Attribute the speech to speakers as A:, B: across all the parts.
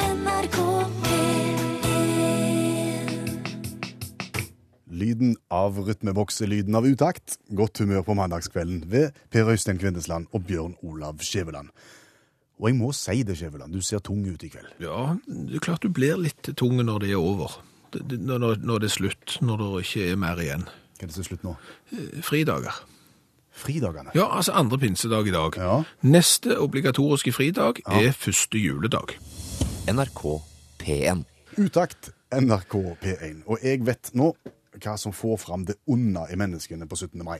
A: NRK P1
B: Lyden av rytmebokse, lyden av utakt. Godt humør på mandagskvelden ved Per Øystein Kvindesland og Bjørn Olav Skjæveland. Og jeg må si det, Skjæveland, du ser tung ut i kveld.
C: Ja, det er klart du blir litt tung når det er over. Det- det- Når, når det er slutt, når det ikke er mer igjen.
B: Hva er det som er slutt nå?
C: Eh, Fridager.
B: Fridagene.
C: Ja, altså andre pinsedag i dag.
B: Ja.
C: Neste obligatoriske fridag er første juledag.
D: NRK P1.
B: Utakt, NRK P1. Og jeg vet nå hva som får fram det onde i menneskene på 17. mai.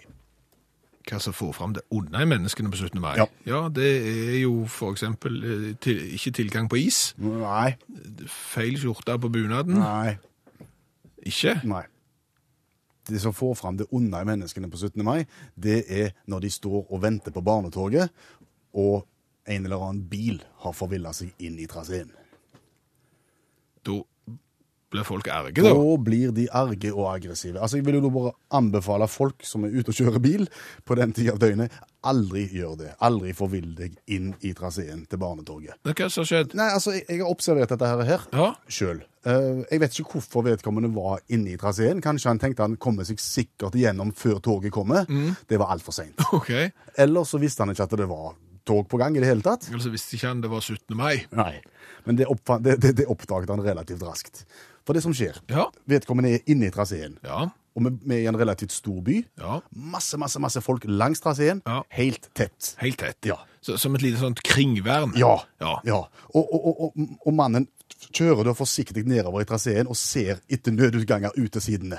C: Hva som får fram det onde i menneskene på 17. mai?
B: Ja.
C: det er jo for eksempel eh, til, ikke tilgang på is,
B: Nei,
C: feil skjorte på bunaden,
B: nei,
C: ikke?
B: nei. Det som får fram det onde i menneskene på 17. mai, det er når de står og venter på barnetoget, og en eller annen bil har forvilla seg inn i traseen.
C: Da blir folk erge da.
B: Da blir de arge og aggressive. Altså, Jeg vil jo da bare anbefale folk som er ute og kjører bil på den tida av døgnet, aldri gjør det. Aldri forvill deg inn i traseen til barnetoget.
C: Men Hva som har skjedd?
B: Nei, altså, jeg, jeg har observert dette her, her
C: Ja,
B: sjøl. Eh, jeg vet ikke hvorfor vedkommende var inne i traseen. Kanskje han tenkte han kommer seg sikkert gjennom før toget kommer.
C: Mm.
B: Det var altfor seint.
C: ok.
B: Eller så visste han ikke at det var tog på gang i det hele tatt.
C: Altså visste ikke han det var 17. mai.
B: Nei. Men det, oppfa- det, det, det oppdaget han relativt raskt. For det som skjer
C: Ja,
B: Vedkommende er inne i traseen.
C: ja,
B: Og vi vi er i en relativt stor by.
C: ja.
B: Masse, masse, masse folk langs traseen.
C: Ja.
B: Helt tett.
C: Helt tett.
B: Ja.
C: Så, som et lite sånt kringvern.
B: Ja.
C: Ja.
B: Og, og, og, og, og mannen kjører da forsiktig nedover i traseen og ser etter nødutganger ut til sidene.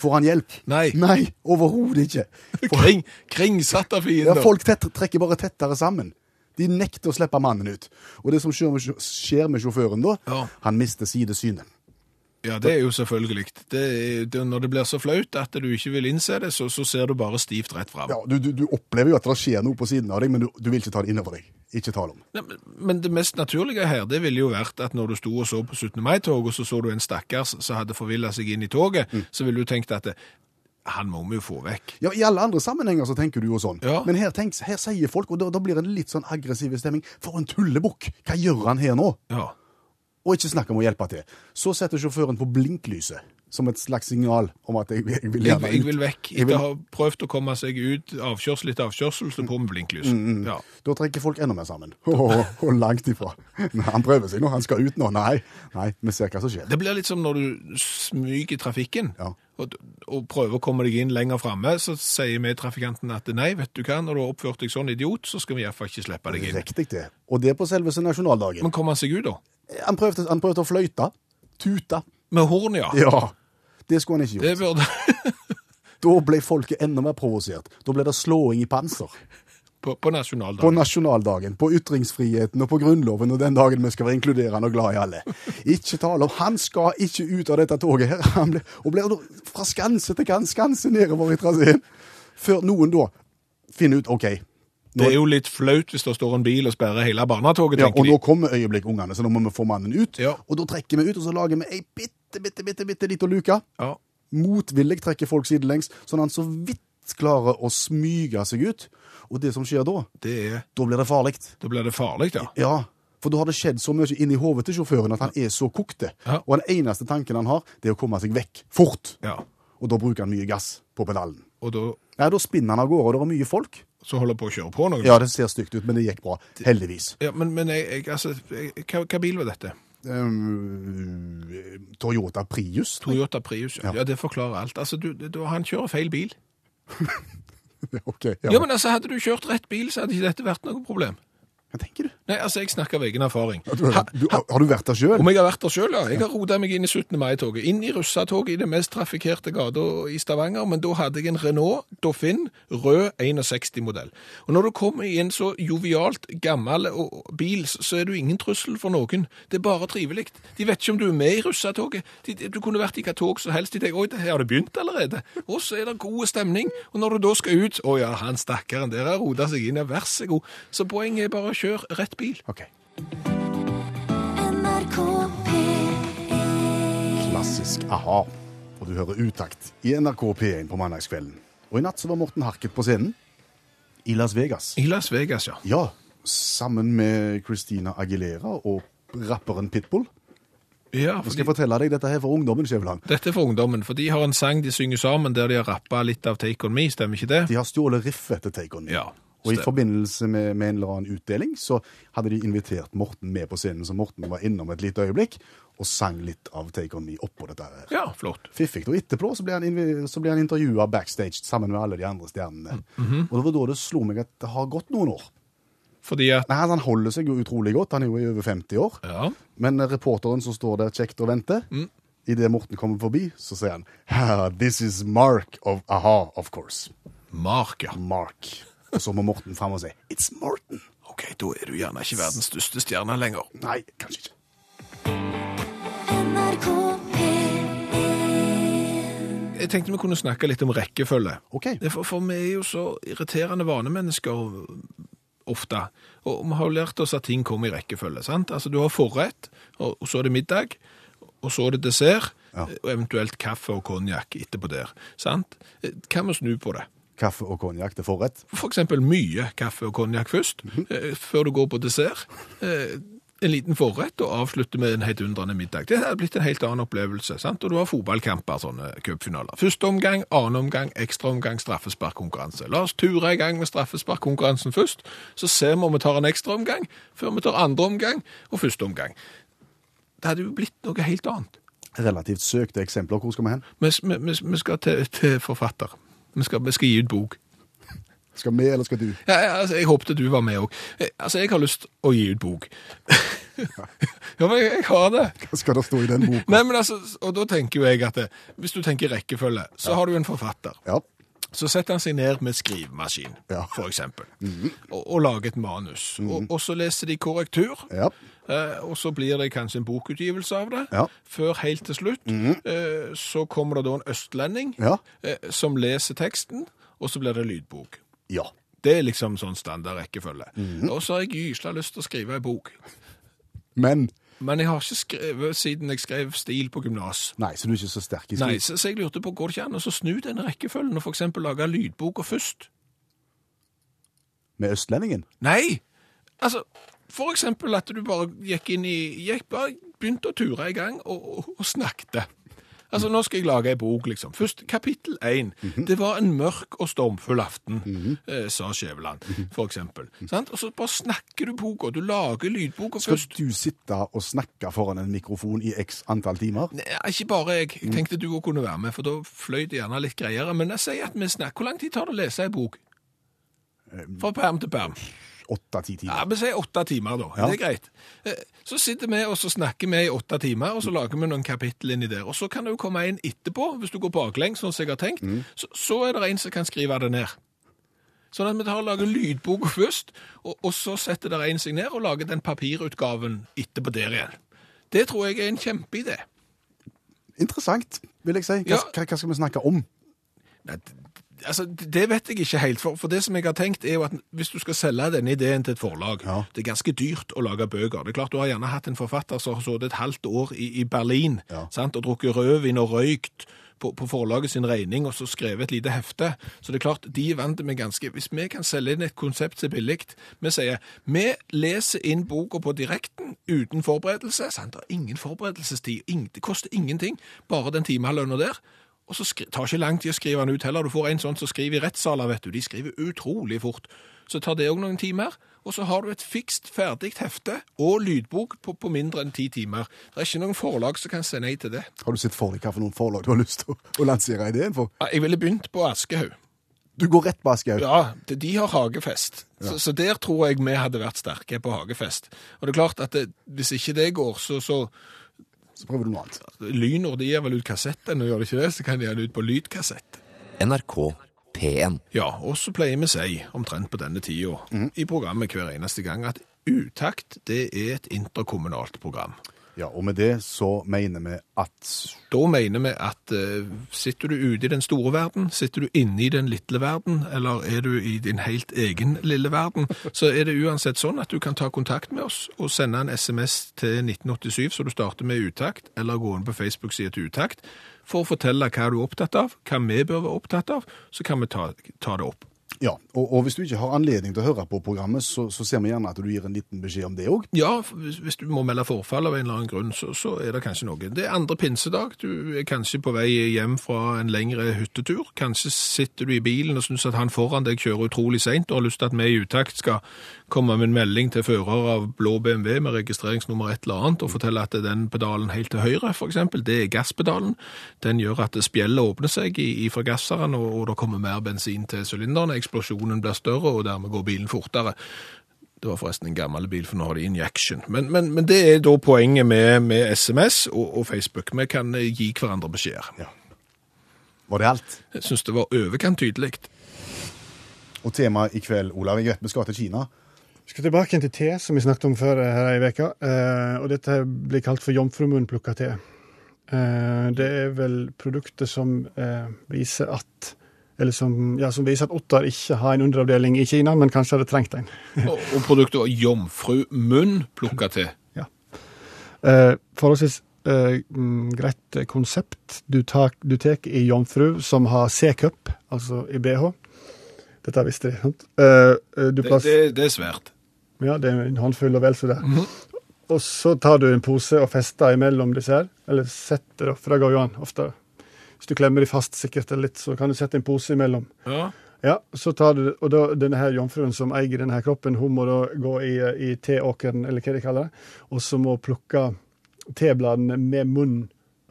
B: Får han hjelp?
C: Nei.
B: Nei, Overhodet ikke. For,
C: Kring, kringsatt av
B: ja,
C: fiender.
B: folk tett, trekker bare tettere sammen. De nekter å slippe mannen ut. Og det som skjer med, sj- skjer med sjåføren da,
C: Ja.
B: han mister sidesynet.
C: Ja, det er jo selvfølgelig. Det, er- det, når det blir så flaut at du ikke vil innse det, så, så ser du bare stivt rett fram.
B: Ja, du, du, du opplever jo at det skjer noe på siden av deg, men du, du vil ikke ta det innover deg. Ikke tale om.
C: Nei, men- men det mest naturlige her, det ville jo vært at når du sto og så på 17. mai-toget, og så så du en stakkars som hadde forvilla seg inn i toget,
B: Mm.
C: så ville du tenkt at det, han må vi jo få vekk.
B: Ja, I alle andre sammenhenger så tenker du jo sånn,
C: Ja.
B: men her, tenks, her sier folk, og da, da blir det en litt sånn aggressiv stemning. For en tullebukk! Hva gjør han her nå?
C: Ja.
B: Og ikke snakk om å hjelpe til. Så setter sjåføren på blinklyset, som et slags signal om at jeg, jeg vil
C: Jeg,
B: gjerne ut.
C: jeg vil vekk.
B: Jeg
C: Etter
B: vil- Mm.
C: å ha prøvd å komme seg ut avkjørsel etter avkjørsel, så på med blinklys. Ja.
B: Da trekker folk enda mer sammen. Og langt ifra. Nei, han prøver seg nå, han skal ut nå. Nei, nei, vi ser hva som skjer.
C: Det blir litt som når du smyger i trafikken
B: Ja.
C: og, og prøver å komme deg inn lenger framme, så sier vi trafikanten at nei, vet du hva, når du har oppført deg sånn idiot, så skal vi iallfall ikke slippe deg inn.
B: Riktig det. Og det på selveste nasjonaldagen.
C: Men kom han seg ut, da?
B: Han prøvde, han prøvde å fløyte. Tute.
C: Med horn, ja.
B: Ja. Det skulle han ikke gjort.
C: Det burde
B: Da ble folket enda mer provosert. Da ble det slåing i panser.
C: På, på
B: På
C: nasjonaldagen.
B: nasjonaldagen, på ytringsfriheten og på grunnloven og den dagen vi skal være inkluderende og glad i alle. Ikke tale om Han skal ikke ut av dette toget her. Han ble, og blir da fra skanse til kan- skanse nedover i traseen. Før noen da finner ut OK.
C: Det er jo litt flaut hvis det står en bil og sperrer hele barnetoget,
B: Ja, og
C: tenker
B: nå
C: de.
B: kommer øyeblikkungene, så nå må vi få mannen ut.
C: Ja.
B: Og da trekker vi ut, og så lager vi ei bitte, bitte, bitte, bitte lita luke.
C: Ja.
B: Motvillig trekker folk sidelengs, sånn at han så vidt klarer å smyge seg ut. Og det som skjer da,
C: Det er,
B: da blir det farlig.
C: da blir det farlig, ja.
B: Ja, for da har det skjedd så mye inni hodet til sjåføren at han er så kokte.
C: Ja.
B: Og den eneste tanken han har, det er å komme seg vekk. Fort.
C: ja.
B: Og da bruker han mye gass på pedalen.
C: Og da
B: Nei, da spinner han av gårde, og det er mye folk.
C: så holder jeg på å kjøre på noen.
B: Ja, det ser stygt ut, men det gikk bra. Heldigvis.
C: Ja, men, men jeg, jeg, altså, jeg, hva, hva bil var dette?
B: Ehm, Toyota Prius.
C: Toyota Prius. Ja, ja det forklarer alt. Altså, du, du, han kjører feil bil.
B: Ok, ja.
C: Ja, men altså, Hadde du kjørt rett bil, så hadde ikke dette vært noe problem.
B: Hva tenker du?
C: Nei, altså, Jeg snakker av egen erfaring.
B: Ja, du, har- du har du vært der sjøl?
C: Om jeg har vært der sjøl, ja. Jeg har rota meg inn i 17. mai-toget. Inn i russatoget i det mest trafikkerte gata i Stavanger. Men da hadde jeg en Renault Dauphine rød 61-modell. Og når du kommer i en så jovialt gammel og- og bil, så- så er du ingen trussel for noen. Det er bare trivelig. De vet ikke om du er med i russatoget. De, de- du kunne vært i hva tog som helst. De tenker oi, det her har det begynt allerede. Og så er det god stemning. Og når du da skal ut Å ja, han stakkaren der har rota seg inn, ja, vær så god. Så poenget er bare kjør rett bil.
B: Ok.
A: NRK P1
B: Klassisk aha. Og du hører utakt i NRK P1 på mandagskvelden. Og i natt så var Morten Harket på scenen i Las Vegas.
C: I Las Vegas, ja.
B: Ja, sammen med Christina Aguilera og rapperen Pitbull.
C: Ja,
B: Nå skal
C: fordi,
B: jeg fortelle deg dette her for ungdommen, Skjæveland.
C: dette er for ungdommen, for de har en sang de synger sammen der de har rappa litt av Take On Me, stemmer ikke det?
B: De har stjålet riffet til Take On Me.
C: Ja,
B: Og i
C: stemmer.
B: forbindelse med, med en eller annen utdeling så hadde de invitert Morten med på scenen, så Morten var innom et lite øyeblikk og sang litt av Take On Me oppå dette her.
C: Ja, flott.
B: Fiffig. Og etterpå så ble han, invi- så ble han intervjua backstage sammen med alle de andre stjernene.
C: Mhm.
B: Og det var da det slo meg at det har gått noen år.
C: Fordi at
B: Nei, altså, Han holder seg jo utrolig godt, han er jo i over 50 år.
C: Ja.
B: Men reporteren som står der kjekt og venter,
C: Mm.
B: idet Morten kommer forbi, så sier han «Ha, This is Mark of A-ha, of course.
C: Mark, ja.
B: Mark. Og så må Morten fram og si It's Morten.
C: OK, da er du gjerne ikke verdens største stjerne lenger.
B: Nei, kanskje ikke.
A: NRK P1
C: Jeg tenkte vi kunne snakke litt om rekkefølge.
B: OK.
C: Det er For, for vi er jo så irriterende vanemennesker ofte. Og vi har jo lært oss at ting kommer i rekkefølge. sant? Altså, Du har forrett, og og så er det middag, og så er det dessert,
B: Ja.
C: og eventuelt kaffe og konjakk etterpå der. sant? Eh, Kan vi snu på det?
B: Kaffe og konjakk til forrett.
C: For eksempel mye kaffe og konjakk først, eh, før du går på dessert. Eh, en liten forrett og avslutte med en heidundrende middag. Det hadde blitt en helt annen opplevelse. sant? Og du har fotballkamper, sånne cupfinaler. Første omgang, annen omgang, ekstra omgang, straffesparkkonkurranse. La oss ture i gang med straffesparkkonkurransen først, så ser vi om vi tar en ekstra omgang, før vi tar andre omgang og første omgang. Det hadde jo blitt noe helt annet.
B: Relativt søkte eksempler. Hvor skal vi hen?
C: Vi, vi, vi- vi skal til, til forfatter. Vi skal, vi skal gi ut bok.
B: Skal vi, eller skal du?
C: Ja, ja, altså, jeg håpte du var med òg. Altså, jeg har lyst å gi ut bok. ja, men jeg, jeg har det.
B: Hva skal det stå i den boka?
C: Nei, men altså, Og da tenker jo jeg at eh, hvis du tenker rekkefølge, så har du en forfatter.
B: Ja.
C: Så setter han seg ned med skrivemaskin,
B: Ja. Mhm.
C: for eksempel, og, og lager et manus. Og, og så leser de korrektur.
B: ja.
C: Eh, og så blir det kanskje en bokutgivelse av det,
B: Ja. Mhm.
C: før helt til slutt. Eh, så kommer det da en østlending
B: Ja.
C: eh, som leser teksten, og så blir det lydbok.
B: Ja.
C: Det er liksom sånn standard rekkefølge. Og så har jeg gysla lyst til å skrive ei bok.
B: Men
C: Men jeg har ikke skrevet siden jeg skrev stil på gymnas.
B: Nei, så du er ikke så sterk i
C: Nei,
B: skrift?
C: så, så jeg lurte på, går det ikke an å så snu den rekkefølgen og for eksempel lage lydboka først?
B: Med østlendingen?
C: Nei! Altså, for eksempel at du bare gikk inn i gikk Bare begynte å ture i gang og, og, og snakket. Altså, nå skal jeg lage ei bok, liksom. Først kapittel én. Det var en mørk og stormfull aften, eh, sa Skjæveland, for eksempel. Sant? Og så bare snakker du boka. Du lager lydboka
B: Skal
C: først.
B: du sitte og snakke foran en mikrofon i x antall timer?
C: Nei, ikke bare jeg. Jeg tenkte du òg kunne være med, for da fløy det gjerne litt greiere. Men jeg sier at vi snakker Hvor lang tid tar det å lese ei bok? Fra perm til perm.
B: Åtte-ti
C: Ja,
B: timer?
C: Vi sier åtte timer, da.
B: Ja.
C: Det er greit. Eh, Så sitter vi og så snakker vi i åtte timer, og så lager vi noen kapittel inni der. Og så kan det jo komme en etterpå, hvis du går baklengs, sånn som jeg har tenkt.
B: Mm.
C: Så, så er det en som kan skrive det ned. Sånn at vi tar og lager lydboka først, og, og så setter det en seg ned og lager den papirutgaven etterpå der igjen. Det tror jeg er en kjempeidé.
B: Interessant, vil jeg si. Hva,
C: Ja.
B: hva, hva skal vi snakke om?
C: Nei, d- altså, d- Det vet jeg ikke helt, for, for det som jeg har tenkt er jo at hvis du skal selge denne ideen til et forlag,
B: Ja.
C: det er ganske dyrt å lage bøker. Det er klart Du har gjerne hatt en forfatter som har sittet et halvt år i, i Berlin
B: Ja.
C: sant, og drukket rødvin og røykt på, på forlaget sin regning, og så skrevet et lite hefte. Så det er klart, de er vant med ganske Hvis vi kan selge inn et konsept som er billig Vi sier vi leser inn boka på direkten uten forberedelse. Sant? Det er ingen forberedelsestid. Ing, det koster ingenting. Bare den timelønna der. Og så skri, tar ikke lang tid å skrive den ut heller. Du får en sånn som skriver i rettssaler, vet du. De skriver utrolig fort. Så tar det òg noen timer. Og så har du et fikst ferdig hefte og lydbok på, på mindre enn ti timer. Det er ikke noen forlag som kan si nei til det.
B: Har du sett for deg hva for noen forlag du har lyst til å, å lansere ideen for?
C: Ja, Jeg ville begynt på Askehaug.
B: Du går rett på Aschehoug.
C: Ja, de- de har hagefest. Så, så der tror jeg vi hadde vært sterke på hagefest. Og det er klart at det, hvis ikke det går, så, så
B: Så prøver du noe annet.
C: Lynor de gir vel ut kassetten, og gjør de ikke det, så kan de ha det ut på lydkassett.
D: NRK P1.
C: Ja, og så pleier vi å si, omtrent på denne tida, i programmet hver eneste gang, at utakt det er et interkommunalt program.
B: Ja, og med det så mener vi at
C: Da mener vi at eh, sitter du ute i den store verden, sitter du inne i den lille verden, eller er du i din helt egen lille verden, så er det uansett sånn at du kan ta kontakt med oss og sende en SMS til 1987, så du starter med utakt, eller gå inn på Facebook-sida til utakt, for å fortelle hva du er opptatt av, hva vi bør være opptatt av, så kan vi ta, ta det opp.
B: Ja, og, og hvis du ikke har anledning til å høre på programmet, så, så ser vi gjerne at du gir en liten beskjed om det òg.
C: Ja, hvis, hvis du må melde forfall av en eller annen grunn, så, så er det kanskje noe. Det er andre pinsedag. Du er kanskje på vei hjem fra en lengre hyttetur. Kanskje sitter du i bilen og syns at han foran deg kjører utrolig seint, og har lyst til at vi i utakt skal komme med en melding til fører av blå BMW med registreringsnummer et eller annet, og fortelle at den pedalen helt til høyre, f.eks., det er gasspedalen. Den gjør at spjellet åpner seg i, i forgasseren, og, og det kommer mer bensin til sylinderen. Eksplosjonen blir større, og dermed går bilen fortere. Det var forresten en gammel bil, for nå har de injection. Men, men, men det er da poenget med, med SMS og, og Facebook. Vi kan eh, gi hverandre beskjeder.
B: Var det alt?
C: Jeg syns det var overkant tydelig.
B: Og temaet i kveld, Olav, jeg vet vi skal til Kina.
A: Vi skal tilbake igjen til te, som vi snakket om før eh, her i veka. Eh, og dette blir kalt for jomfrumunnplukka te. Eh, det er vel produktet som eh, viser at eller som, ja, som viser at otter ikke har en underavdeling i Kina, men kanskje hadde trengt en.
C: Og, og produktet var Jomfru Munn plukka til.
A: Eh, forholdsvis eh, mm, greit eh, konsept. Du tar du tek i jomfru som har C-cup, altså i BH. Dette visste de, sant? Eh, eh, du
C: Det,
A: plass-
C: det, det er svært.
A: Ja, det er en håndfull og vel så det. Og så tar du en pose og fester imellom disse her. Eller setter, da, for det går jo an ofte. Hvis du klemmer de fast sikkert eller litt, så kan du sette en pose imellom.
C: Ja.
A: Ja, så tar du, og da, denne her jomfruen som eier denne her kroppen, hun må da gå i, i teåkeren, eller hva de kaller det, og så må hun plukke tebladene med munnen.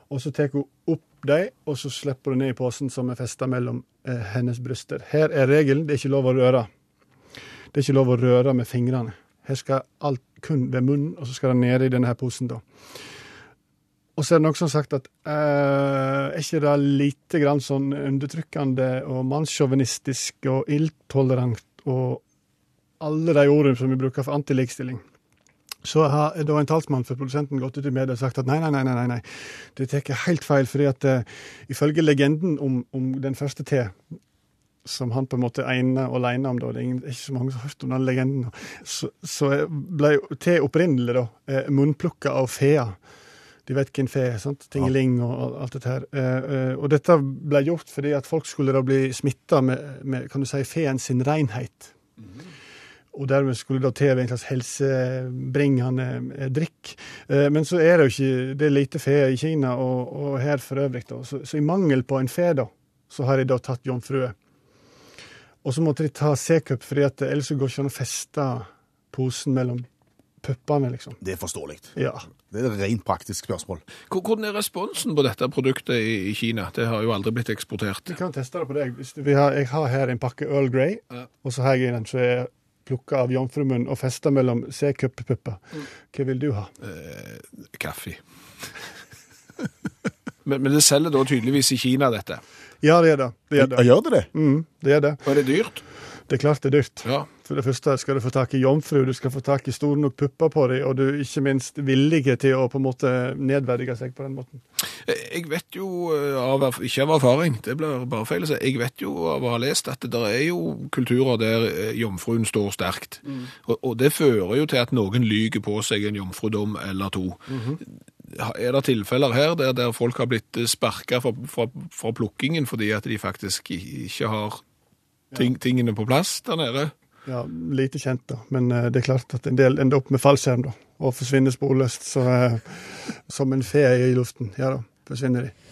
A: Og så tar hun opp dem, og så slipper hun ned i posen som er festa mellom eh, hennes bryster. Her er regelen, det er ikke lov å røre. Det er ikke lov å røre med fingrene. Her skal alt kun ved munnen, og så skal det nede i denne her posen da. Og så er det noen som har sagt at eh, er ikke det lite grann sånn undertrykkende og mannssjåvinistisk og ildtolerant og alle de ordene som vi bruker for antilikestilling? Så har da en talsmann for produsenten gått ut i media og sagt at nei, nei, nei, nei, nei, nei. det tar helt feil, fordi at eh, ifølge legenden om, om den første T, som han på en måte er ene og alene om, da, det er ingen, ikke så mange som har hørt om den legenden, så, så ble jo T opprinnelig da, eh, munnplukka av fea. De vet hvem fe er, sant? Tingeling og al- alt dette her. Eh, eh, og dette ble gjort fordi at folk skulle da bli smitta med, med kan du si, feen sin renhet. Og dermed skulle da te være en slags helsebringende eh, drikk. Eh, men så er det jo ikke Det er lite fe i Kina og, og her for øvrig, da. Så, så i mangel på en fe, da, så har de da tatt jomfrue. Og så måtte de ta C-cup, fordi at ellers så går ikke an å feste posen mellom puppene, liksom.
B: Det er forståelig.
A: Ja.
B: Det er et rent praktisk spørsmål.
C: Hvor- Hvordan er responsen på dette produktet i i Kina? Det har jo aldri blitt eksportert.
A: Vi kan teste det på deg. Hvis du, vi har, jeg har her en pakke Earl Grey,
C: Ja.
A: og så har jeg en som er plukka av jomfrumunn og festa mellom C-cup-pupper.
C: Mm.
A: Hva vil du ha?
C: Kaffe. men, men det selger da tydeligvis i Kina, dette.
A: Ja, det er det. Det er det.
B: Gjør det det?
A: Mm, det, er det.
C: Og er det dyrt?
A: det er klart det er dyrt.
C: Ja.
A: For det første skal du få tak i jomfru, du skal få tak i store nok pupper på dem, og du er ikke minst villige til å på en måte nedverdige seg på den måten.
C: Jeg vet jo eh, av, erf- ikke av erfaring, det blir bare feil, å si. jeg vet jo av å ha lest at det der er jo kulturer der eh, jomfruen står sterkt. Og, og det fører jo til at noen lyger på seg en jomfrudom eller to. Ha- Er det tilfeller her der, der folk har blitt eh, sparket fra, fra, fra plukkingen fordi at de faktisk i- ikke har ting, tingene på plass der nede?
A: Ja, lite kjent, da. Men eh, det er klart at en del ender opp med fallskjerm, da. Og forsvinner sporløst. Så eh, som en fe i luften. Ja da, forsvinner de.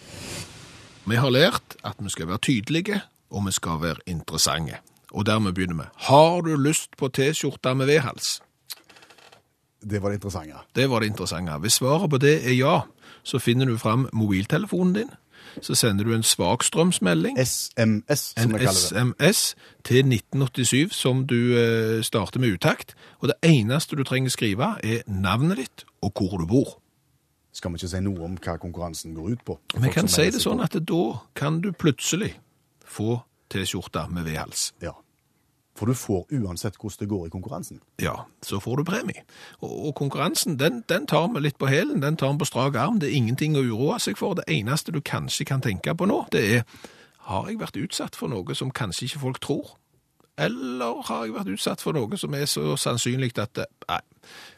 C: Vi har lært at vi skal være tydelige, og vi skal være interessante. Og dermed begynner vi. Har du lyst på T-skjorta med vedhals?
B: Det var det interessante.
C: Det var det interessante. Hvis svaret på det er ja, så finner du fram mobiltelefonen din, så sender du en svakstrømsmelding,
B: SMS, som vi
C: en
B: kaller det.
C: SMS, til 1987 som du eh, starter med utakt, og det eneste du trenger skrive er navnet ditt og hvor du bor.
B: Skal vi ikke si noe om hva konkurransen går ut på?
C: Vi kan si det sånn at da kan du plutselig få T-skjorta med vedhals.
B: Ja. For du får uansett hvordan det går i konkurransen.
C: Ja, så får du premie. Og, og konkurransen, den, den tar vi litt på hælen, den tar vi på strak arm. Det er ingenting å uroe seg for. Det eneste du kanskje kan tenke på nå, det er har jeg vært utsatt for noe som kanskje ikke folk tror? Eller har jeg vært utsatt for noe som er så sannsynlig at det, Nei,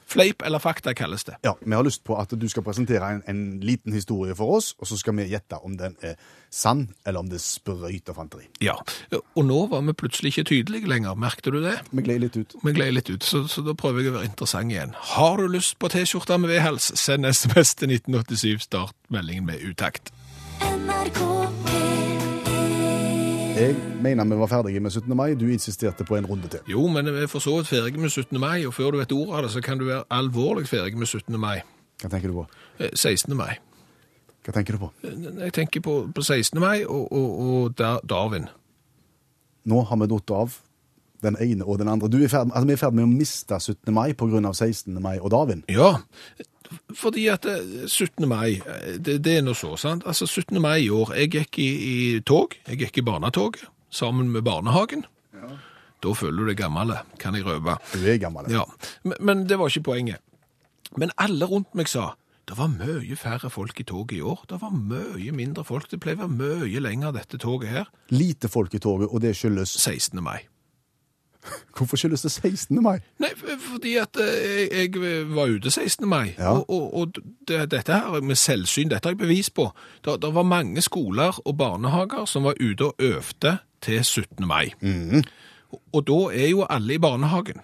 C: Fleip eller fakta kalles det.
B: Ja, Vi har lyst på at du skal presentere en, en liten historie for oss, og så skal vi gjette om den er sann, eller om det sprøyter fanteri.
C: Ja. Og nå var vi plutselig ikke tydelige lenger, merkte du det?
B: Vi gled litt ut.
C: Vi gled litt ut, så, så da prøver jeg å være interessant igjen. Har du lyst på T-skjorta med V-hals, send SMS til 1987, start meldingen med utakt.
E: NRK P1
B: Jeg mener vi var ferdige med 17. mai. Du insisterte på en runde til.
C: Jo, men vi er for så vidt ferdig med 17. mai, og før du vet ordet av det, så kan du være alvorlig ferdig med 17. mai.
B: Hva tenker du på?
C: Eh, 16. mai. Eh,
B: Hva tenker du på?
C: Jeg tenker på, på 16. mai og, og, og Dar- Darwin.
B: Nå har vi datt av den ene og den andre. Du er i ferd, altså, vi er i ferd med å miste 17. mai pga. 16. mai og Darwin.
C: Ja, fordi at eh, 17. mai, eh, det, det er nå så, sant? Altså 17. mai i år, jeg gikk i, i tog, jeg gikk i barnetog, sammen med barnehagen. Da føler du deg gammel, kan jeg røpe.
B: Du er gammel.
C: Ja, men, men det var ikke poenget. Men alle rundt meg sa, det var mye færre folk i toget i år, det var mye mindre folk, det pleier å være mye lenger dette toget her,
B: Lite folk i toget, og det skyldes
C: 16. mai.
B: Hvorfor skyldes det 16. mai?
C: Nei, f- fordi at eh, jeg jeg var ute 16. mai,
B: Ja.
C: og, og, og det, dette her med selvsyn, dette har jeg bevis på. Det, var mange skoler og barnehager som var ute og øvde til 17. mai. Og, og da er jo alle i barnehagen,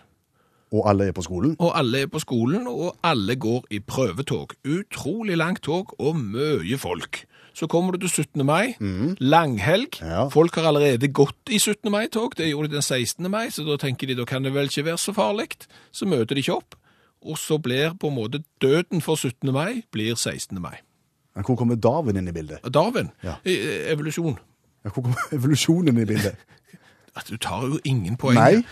B: Og alle er på skolen?
C: og alle er på skolen, og alle går i prøvetog. Utrolig langt tog, og mye folk. Så kommer du til 17. mai, langhelg.
B: Mm. Ja.
C: Folk har allerede gått i 17. mai-tog. Det gjorde de den 16. mai, så da tenker de da kan det vel ikke være så farlig. Så møter de ikke opp. Og så blir på en måte døden for 17. mai blir 16. mai.
B: Men hvor kommer Darwin inn i bildet?
C: Darwin,
B: Ja.
C: eh, evolusjon.
B: Ja, Hvor kommer evolusjonen inn i bildet?
C: At du tar jo ingen poeng.
B: Nei.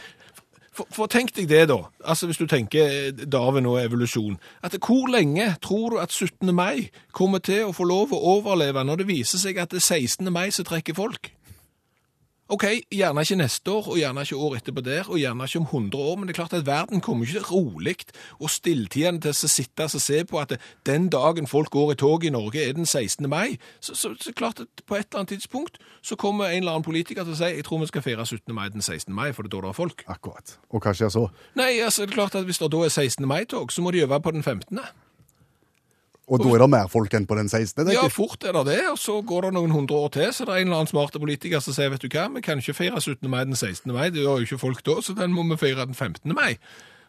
C: For, for tenk deg det, da. Altså Hvis du tenker eh, Darwin og evolusjon. At Hvor lenge tror du at 17. mai kommer til å få lov å overleve når det viser seg at det er 16. mai som trekker folk? OK, gjerne ikke neste år, og gjerne ikke året etterpå der, og gjerne ikke om 100 år, men det er klart at verden kommer ikke rolig og stilltiende til å sitte og se på at den dagen folk går i tog i Norge, er den 16. mai. Så, så, så klart at på et eller annet tidspunkt så kommer en eller annen politiker til å si jeg tror vi skal feire 17. mai den 16. mai, for det er da det er folk.
B: Akkurat. Og hva skjer så?
C: Nei, altså det er klart at hvis det da er 16. mai-tog, så må de øve på den 15.
B: Og da er det mer folk enn på den 16. tenker
C: Ja,
B: jeg.
C: fort er det det, og så går det noen hundre år til, så det er en eller annen smarte politiker som sier, vet du hva, vi kan ikke feire 17. mai den 16. mai, det gjør jo ikke folk da, så den må vi feire den 15. mai.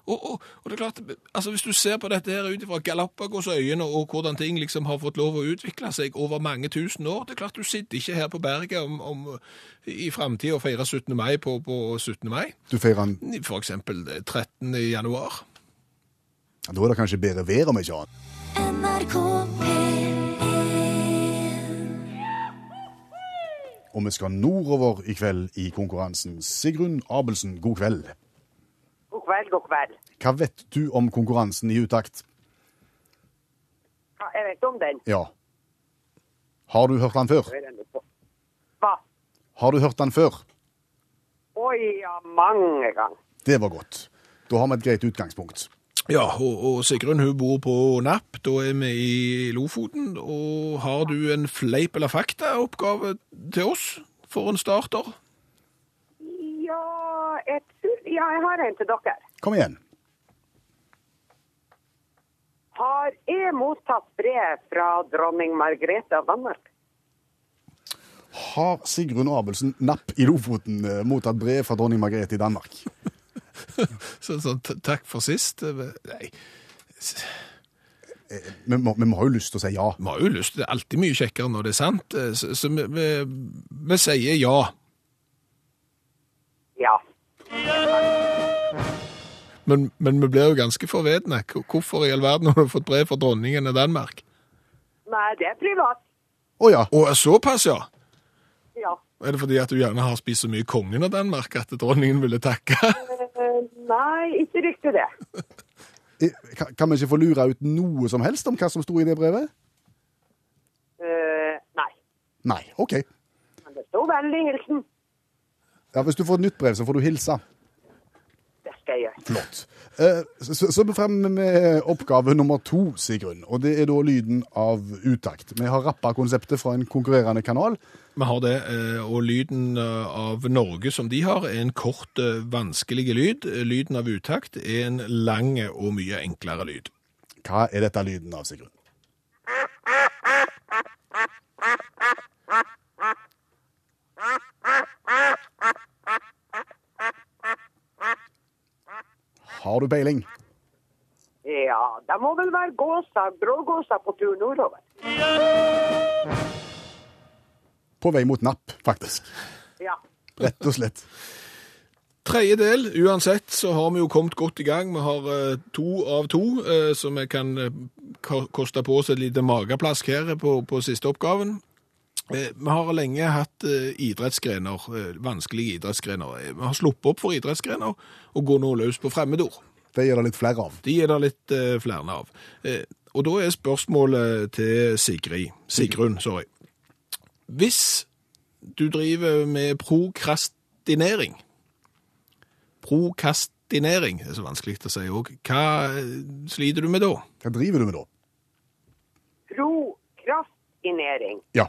C: Og, og, og det er klart, altså hvis du ser på dette her ut fra Galapagosøyene og hvordan ting liksom har fått lov å utvikle seg over mange tusen år, det er klart du sitter ikke her på berget om, om, i fremtiden og feirer 17. mai på, på 17. mai,
B: Du feirer den
C: for eksempel 13. januar.
B: ja, Da er det kanskje bedre vær om ikke annet.
E: NRK P1
B: Og vi skal nordover i kveld i konkurransen. Sigrun Abelsen, god kveld.
F: God kveld, god kveld.
B: Hva vet du om konkurransen i utakt?
F: Ja, Jeg vet om den.
B: Ja. Har du hørt den før?
F: Hva?
B: Har du hørt den før?
F: Oi, ja, mange ganger.
B: Det var godt. Da har vi et greit utgangspunkt.
C: Ja, og, og Sigrun hun bor på Napp, da er vi i Lofoten. Og har du en fleip eller fakta-oppgave til oss for en starter?
F: Ja, jeg tror Ja, jeg har en til dere.
B: Kom igjen.
F: Har jeg mottatt brev fra dronning Margrethe av Danmark?
B: Har Sigrun Abelsen Napp i Lofoten eh, mottatt brev fra dronning Margrethe i Danmark?
C: Så, sånn, t- takk for sist. Eh, Nei,
B: Vi må, vi må ha jo lyst til å si ja.
C: vi har jo lyst til det. er Alltid mye kjekkere når det er sant. Eh, Så, så vi, vi, vi sier ja.
F: Ja.
C: Men, men vi blir jo ganske forvedne. Hvor- Hvorfor i all verden har du fått brev fra dronningen av Danmark?
F: Nei, det er privat.
B: Å ja.
C: Å, såpass, ja.
F: Ja.
C: Er det fordi at du gjerne har spist så mye kongen av Danmark at dronningen ville takke?
F: Eh, Nei, ikke riktig det.
B: Eh, Kan, kan vi ikke få lure ut noe som helst om hva som sto i det brevet?
F: Eh, nei.
B: Nei. OK.
F: Men det sto vennlig hilsen.
B: Ja, Hvis du får et nytt brev, så får du hilse.
F: Det skal jeg gjøre.
B: Flott. Eh, Så, så så er vi fremme med oppgave nummer to, Sigrun. Og det er da lyden av utakt. Vi har rappa konseptet fra en konkurrerende kanal.
C: Vi har det, eh, og lyden eh, av Norge som de har, er en kort, eh, vanskelig lyd. Lyden av utakt er en lang og mye enklere lyd.
B: Hva er dette lyden av, Sigrun? Har du peiling?
F: Ja, da må vel være gåsa, grågåsa på tur nordover.
B: På vei mot napp, faktisk.
F: Ja.
B: Rett og slett.
C: Tredje del, uansett, så har vi jo kommet godt i gang. Vi har eh, to av to, eh, så vi kan eh, ko- koste på oss et lite mageplask her eh, på, på siste oppgaven. Eh, Vi har lenge hatt eh, idrettsgrener, eh, vanskelige idrettsgrener. Eh, Vi har sluppet opp for idrettsgrener og går nå løs på fremmedord.
B: Det gir det litt flere av.
C: De er det litt eh, flere av. Eh, og da er spørsmålet til Sigrid. Sigrun, sorry. Hvis du driver med prokrastinering Prokastinering er så vanskelig å si òg. Hva eh, sliter du med da?
B: Hva driver du med da?
F: Prokrastinering.
B: Ja.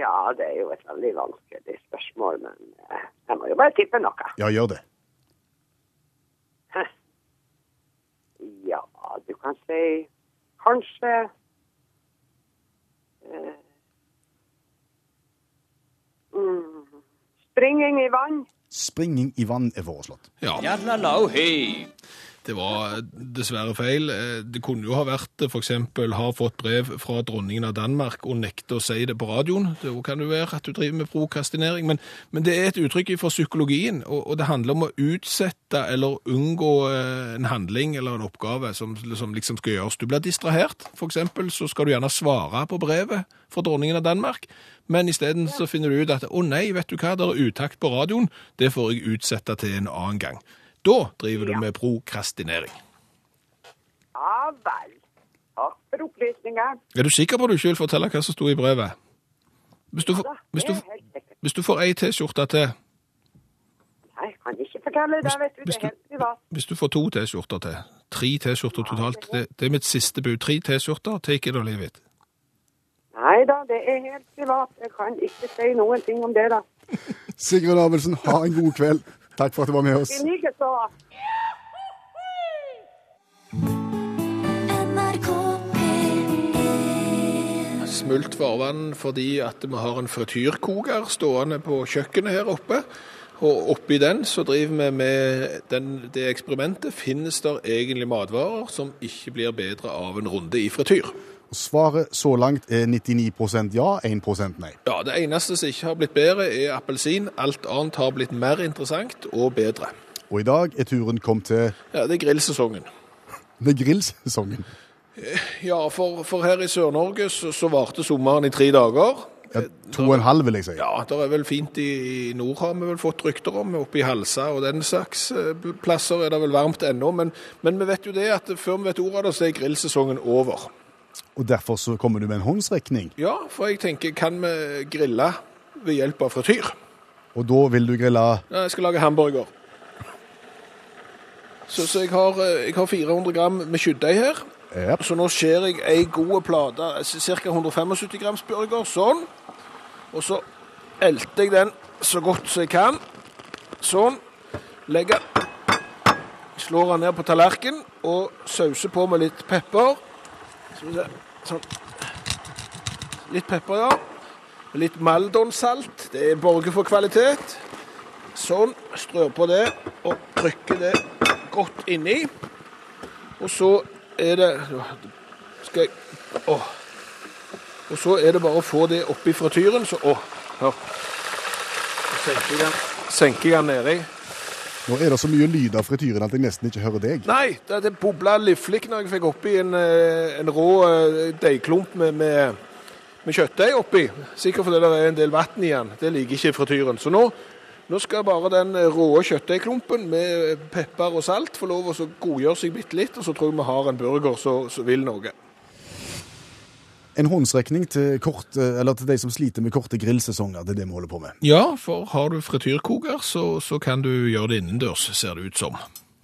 F: Ja, det er jo et veldig vanskelig spørsmål, men eh, jeg må jo bare tippe noe.
B: Ja, gjør det.
F: Ja, du kan si kanskje eh, mm, Springing i vann.
B: Springing i vann er foreslått.
C: Ja, det var dessverre feil. Eh, Det kunne jo ha vært eh, for eksempel har fått brev fra dronningen av Danmark og nekte å si det på radioen. Det kan jo være at du driver med prokastinering, men, men det er et uttrykk fra psykologien, og, og det handler om å utsette eller unngå eh, en handling eller en oppgave som, som liksom skal gjøres. Du blir distrahert, for eksempel, så skal du gjerne svare på brevet fra dronningen av Danmark, men isteden så finner du ut at å nei, vet du hva, det er utakt på radioen, det får jeg utsette til en annen gang. Da driver du med prokrastinering.
F: Ja vel. Takk for opplysningen.
C: Er du sikker på at du ikke vil fortelle hva som sto i brevet? Hvis du, får- hvis du,
F: Altså, Det er helt sikkert.
C: hvis du får ei T-skjorte til,
F: Nei, jeg kan ikke fortelle det, vet du. Det
C: hvis
F: er
C: du-
F: helt privat.
C: hvis du får to T-skjorter til, tre T-skjorter totalt, det, det er mitt siste bud. Tre T-skjorter, take it or leave it.
F: Nei da, det er helt privat. Jeg kan ikke si noen ting om det, da.
B: Sigrun Abelsen, ha en god kveld. Takk for at du var med oss.
F: I likeså.
E: NRK P1
C: Smult farvann fordi at vi har en frityrkoker stående på kjøkkenet her oppe. Og oppi den så driver vi med den, det eksperimentet. Finnes der egentlig matvarer som ikke blir bedre av en runde i frityr?
B: Svaret så langt er 99 ja, 1 nei.
C: Ja, det eneste som ikke har blitt bedre er appelsin. Alt annet har blitt mer interessant og bedre.
B: Og i dag er turen kommet til
C: Ja, det er grillsesongen.
B: med grillsesongen.
C: Ja, for, for her i Sør-Norge så, så varte sommeren i tre dager.
B: Ja, to og en halv, vil jeg si.
C: Ja, det er vel fint i i nord har vi vel fått rykter om, oppe i Halsa og den slags eh, plasser er det vel varmt ennå, men, men vi vet jo det at før vi vet ordet av det, så er grillsesongen over.
B: Og derfor så kommer du med en håndsrekning.
C: Ja, for jeg tenker, kan vi grille ved hjelp av frityr?
B: Og da vil du grille
C: Ja, Jeg skal lage hamburger. Så, så jeg, har, eh, jeg har 400 gram med kjøttdeig her.
B: Japp.
C: Så nå skjer jeg ei god eh, plate, ca. 175 grams burger, sånn. Og så elter jeg den så godt som jeg kan. Sånn. Legger Slår den ned på tallerken og sauser på med litt pepper. Skal vi se. Sånn. Litt pepper, ja. Litt Maldon-salt. Det er borger for kvalitet. Sånn. Strør på det og trykker det godt inni. Og så er det Skal jeg Åh. Og så er det bare å få det oppi frityren, så Åh, hør. Så senker jeg den, senker jeg den nedi.
B: Nå er det så mye lyd av frityren at jeg nesten ikke hører deg.
C: Nei, det, det bobla liflik når jeg fikk oppi en, eh, en rå eh, deigklump med, med, med kjøttdeig oppi. Sikkert fordi det er en del vann i den. Det liker ikke frityren. Så nå, nå skal bare den eh, rå kjøttdeigklumpen med eh, pepper og salt få lov å så godgjøre seg bitte litt, og så tror jeg vi har en burger som som vil noe.
B: En håndsrekning til, kort, eh, eller til de som sliter med korte grillsesonger. Det er det vi holder på med.
C: Ja, for har du frityrkoker, så, så kan du gjøre det innendørs, ser det ut som.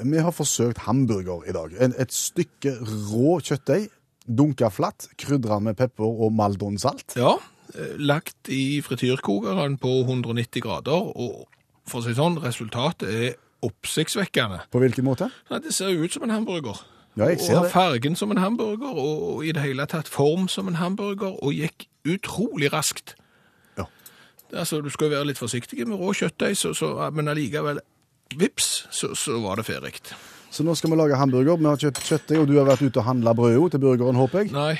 B: Vi har forsøkt hamburger i dag. En, et stykke rå kjøttdeig, dunka flatt, krydra med pepper og maldonsalt.
C: Ja, eh, lagt i frityrkokeren på 190 grader, og for å si det sånn, resultatet er oppsiktsvekkende.
B: På hvilken måte?
C: Nei, det ser jo ut som en hamburger.
B: Ja, jeg ser
C: og har
B: det.
C: fargen som en hamburger, og, og i det hele tatt form som en hamburger, og gikk utrolig raskt.
B: Ja.
C: Altså, du skal jo være litt forsiktig med rå kjøttdeig, så, så, men allikevel, vips, så, så var det ferdig.
B: Så nå skal vi lage hamburger. Vi har kjøpt kjøttdeig, og du har vært ute og handla brød jo, til burgeren, håper jeg.
C: Nei,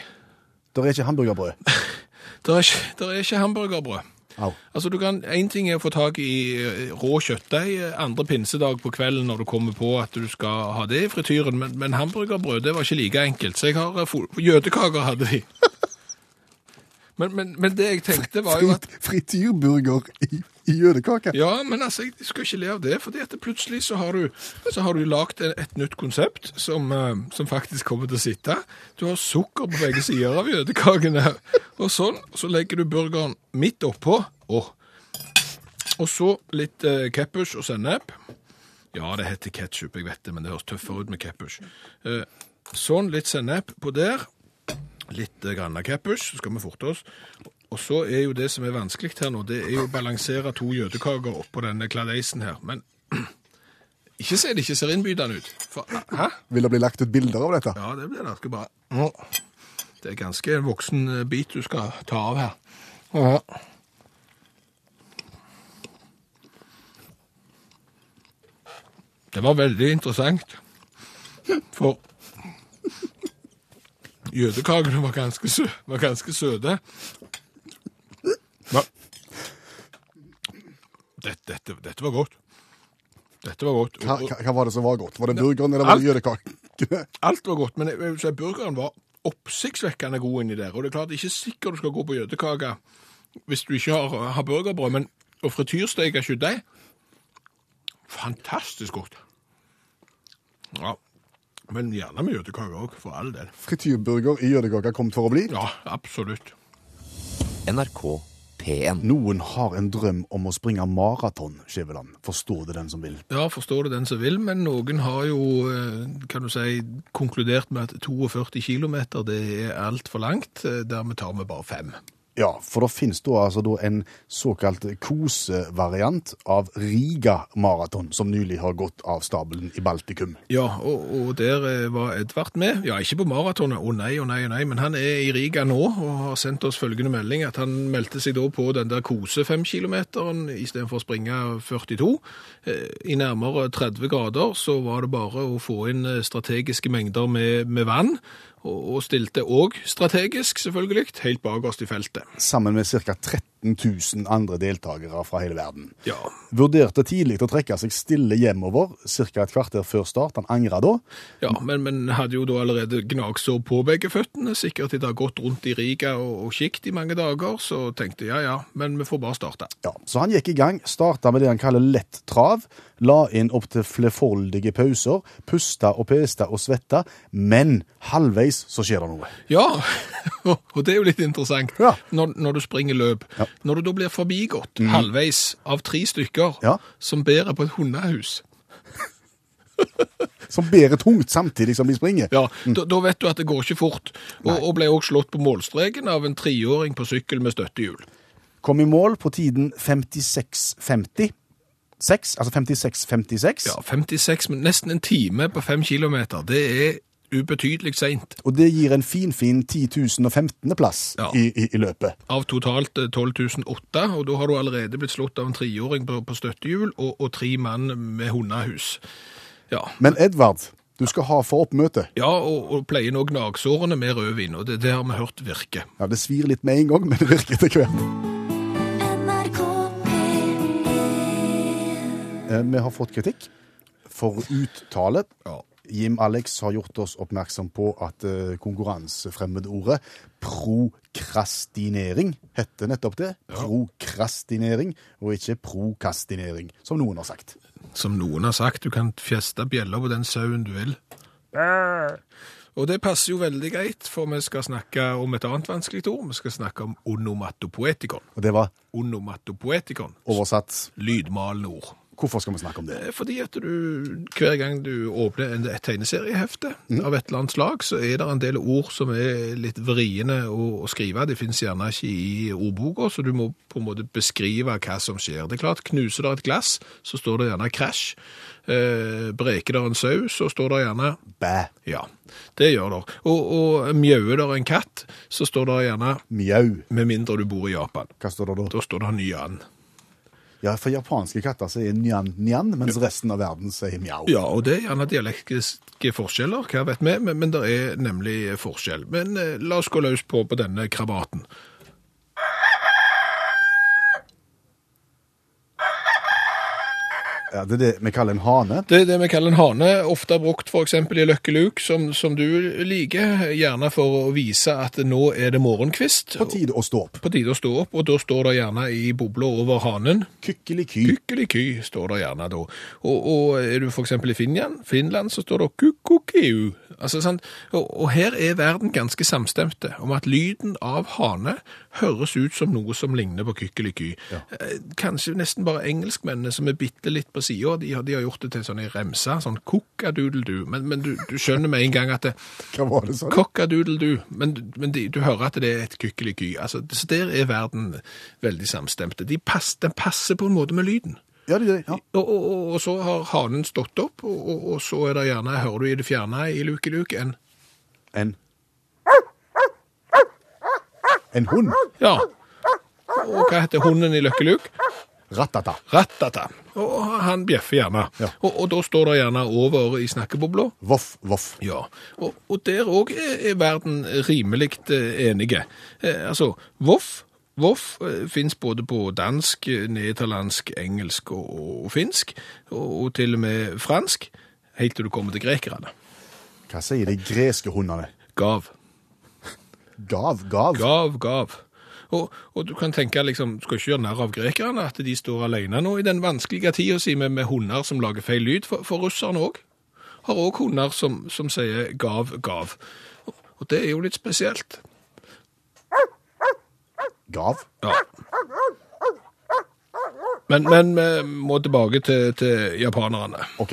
B: Det er ikke hamburgerbrød.
C: det er ikke, der er ikke hamburgerbrød.
B: Au.
C: Altså, du kan, En ting er å få tak i eh, rå kjøttdeig eh, andre pinsedag på kvelden når du kommer på at du skal ha det i frityren, men, men hamburgerbrød det var ikke like enkelt. Så jeg har eh, fo- Jødekaker hadde de. Men, men, men det jeg tenkte, var jo at
B: Frityrburger i, i jødekake.
C: Ja, men altså, jeg skal ikke le av det, fordi at plutselig så har du, så har du lagt et, et nytt konsept som, eh, som faktisk kommer til å sitte. Du har sukker på begge sider av jødekakene, og sånn, så legger du burgeren midt oppå, og, og så litt eh, keppus og sennep. Ja, det heter ketchup, jeg vet det, men det høres tøffere ut med keppus. Eh, sånn, litt sennep på der, litt eh, grann av keppus, så skal vi forte oss. Og så er jo det som er vanskelig her nå, det er jo å balansere to jødekaker oppå denne kladeisen her. Men ikke se det ikke ser innbydende ut. For, ah, hæ?
B: Vil det bli lagt ut bilder av dette?
C: Ja, det blir det. Skal bare... Nå. Det er ganske en voksen eh, bit du skal ta av her. Ja. Det var veldig interessant. For jødekakene var ganske, sø var ganske søte. Hva? Dette, dette, dette var godt. Dette var godt.
B: Hva,
C: Og-
B: hva hva var det som var godt? Var det burgeren eller var det jødekakene?
C: Alt var godt, men jeg, jeg, vil si burgeren var oppsiktsvekkende god inni der. Og det er klart, det er ikke sikkert du skal gå på jødekake hvis du ikke har, har burgerbrød, men å frityrsteke kjøttdeig Fantastisk godt. Ja. Men gjerne med jødekake òg, for all del.
B: Frityrburger i jødekake kom for å bli.
C: Ja, absolutt.
D: NRK P1.
B: Noen har en drøm om å springe maraton, Skjæveland. Forstår det den som vil.
C: Ja, forstår det den som vil, men noen har jo, eh, kan du si, konkludert med at 42 km det er altfor langt. eh, Dermed tar vi bare fem.
B: Ja, for det finnes da altså da en såkalt kosevariant av Riga maraton, som nylig har gått av stabelen i Baltikum.
C: Ja, og, og der eh, var Edvard med. Ja, ikke på maratonet, å nei, å nei, å nei, men han er i Riga nå og har sendt oss følgende melding at han meldte seg da på den der kose 5 kilometeren istedenfor å springe 42. Eh, I nærmere 30 grader så var det bare å få inn eh, strategiske mengder med, med vann, og, og stilte òg strategisk, selvfølgelig, helt bakerst i feltet.
B: Sammen med ca. 13 000 andre deltakere fra hele verden.
C: Ja,
B: Vurderte tidlig å trekke seg stille hjemover, ca. et kvarter før start. Han angra da.
C: Ja, men, men hadde jo da allerede gnagsår på begge føttene, sikkert de da gått rundt i Riga og, og kikt i mange dager, så tenkte jeg ja, ja, men vi får bare starte.
B: Ja, så han gikk i gang, starta med det han kaller lett trav, la inn opptil flerfoldige pauser, pusta og pesta og svetta, men halvveis så skjer det noe.
C: Ja, og det er jo litt interessant
B: Ja. Mhm.
C: når, når du springer løp. Når du da blir forbigått halvveis av tre stykker
B: Ja.
C: som bærer på et hundehus,
B: Som bærer tungt samtidig som de springer.
C: ja, da, da vet du at det går ikke fort, og, og ble også slått på målstreken av en treåring på sykkel med støttehjul.
B: Kom i mål på tiden 56.50. Seks, altså 56.56.
C: Ja, 56, men nesten en time på fem kilometer, det er ubetydelig sent.
B: Og det gir en finfin 10.015. plass
C: Ja.
B: i, i, i løpet.
C: av totalt eh, 12.008, og da har du allerede blitt slått av en treåring på, på støttehjul og, og tre mann med hundehus. Ja,
B: Men Edvard, du skal ha for oppmøte.
C: ja og, og pleier nå gnagsårene med rødvin, og det, det har vi hørt virke.
B: Ja, Det svir litt med en gang, men det virker etter hvert.
E: NRK P1
B: Eh, Vi har fått kritikk for uttale.
C: Ja.
B: Jim Alex har gjort oss oppmerksom på at eh, konkurransefremmedordet prokrastinering heter nettopp det. Prokrastinering, og ikke prokastinering, som noen har sagt.
C: Som noen har sagt, du kan fjeste bjeller på den sauen du vil. Og det passer jo veldig greit, for vi skal snakke om et annet vanskelig ord. Vi skal snakke om onomatopoetikon.
B: Og det var
C: Onomatopoetikon.
B: oversatt.
C: Lydmalende ord.
B: Hvorfor skal vi snakke om det?
C: Eh, Fordi at du, hver gang du åpner en, et tegneseriehefte av et eller annet slag, så er det en del ord som er litt vriene å, å skrive. Det finnes gjerne ikke i ordboka, så du må på en måte beskrive hva som skjer. Det er klart, knuser det et glass, så står det gjerne krasj. Eh, breker det en sau, så står det gjerne
B: Bæ,
C: ja. Det gjør det. Og, og mjauer det en katt, så står det gjerne
B: mjau.
C: med mindre du bor i Japan.
B: Hva står det da?
C: Da står det nyan.
B: Ja, for japanske katter sier njan, njan, mens resten av verden sier mjau.
C: Ja, og det er gjerne dialektiske forskjeller, hva vet vi, men, men det er nemlig forskjell. Men eh, la oss gå løs på, på denne krabaten.
B: Ja, det er det vi kaller en hane.
C: Det er det vi kaller en hane, ofte brukt f.eks. i Løkkeluk, som, som du liker, gjerne for å vise at nå er det morgenkvist.
B: På tide å stå opp.
C: På tide å stå opp, og da står det gjerne i bobla over hanen.
B: Kykkeliky.
C: Kykkeliky, står det gjerne da. Og, og er du f.eks. i Finland, Finland, så står det kukkukiu. Altså, sant? Og, og her er verden ganske samstemte om at lyden av hane høres ut som noe som ligner på kykkeliky. Eh, Kanskje nesten bare engelskmennene som er bitte litt på sida, de, har- de har gjort det til sånn en remse, sånn kukkadoodledu. Men, men du, du skjønner med en gang at det,
B: Hva var det sånn?
C: Kokkadoodle-doo. Men, men de, du hører at det er et kykkeliky. Altså, så der er verden veldig samstemte. De pass, den passer på en måte med lyden.
B: Ja, det er det. Ja.
C: Og, og, og, og så har hanen stått opp, og, og, og så er det gjerne, hører du i det fjerne i lukeluke, en
B: En En hund.
C: Ja. Og hva heter hunden i Løkkeluk?
B: Ratata.
C: Rattata. Og han bjeffer gjerne.
B: Ja.
C: Og, og da står det gjerne over i snakkebobla
B: Voff, voff.
C: Ja, og, og der òg er er verden rimelig eh, enige. Eh, altså, voff Voff eh, finnes både på dansk, eh, nederlandsk, engelsk og, og finsk, og, og til og med fransk, helt til du kommer til grekerne.
B: Hva sier de greske hundene?
C: Gav,
B: Gav, gav.
C: gav, gav. Og, og du kan tenke, liksom, skal ikke gjøre narr av grekerne, at de står alene nå i den vanskelige tida si med, med hunder som lager feil lyd, for, for russerne òg. Har òg hunder som, som sier gav, gav. Og, og det er jo litt spesielt.
B: Gav.
C: Ja. Men, men vi må tilbake til, til japanerne.
B: OK.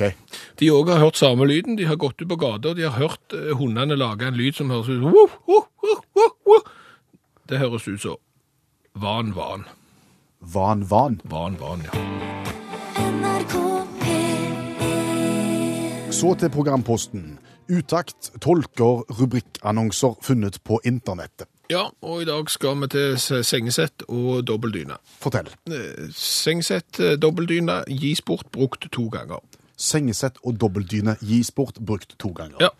C: De òg har hørt samme lyden. De har gått ut på gata, og de har hørt eh, hundene lage en lyd som høres ut som «Woof, woof, woof, woof, woof». Det høres ut som van, van.
B: Van, van.
C: Van, van, ja.
E: NRK P1
B: Så til programposten. Utakt tolker rubrikkannonser funnet på internettet.
C: Ja, og i dag skal vi til se- sengesett og dobbeldyne.
B: Fortell.
C: Eh, Sengesett, eh, dobbeldyne, gis bort brukt to ganger.
B: Sengesett og dobbeltdyne gis bort brukt to ganger.
C: Ja.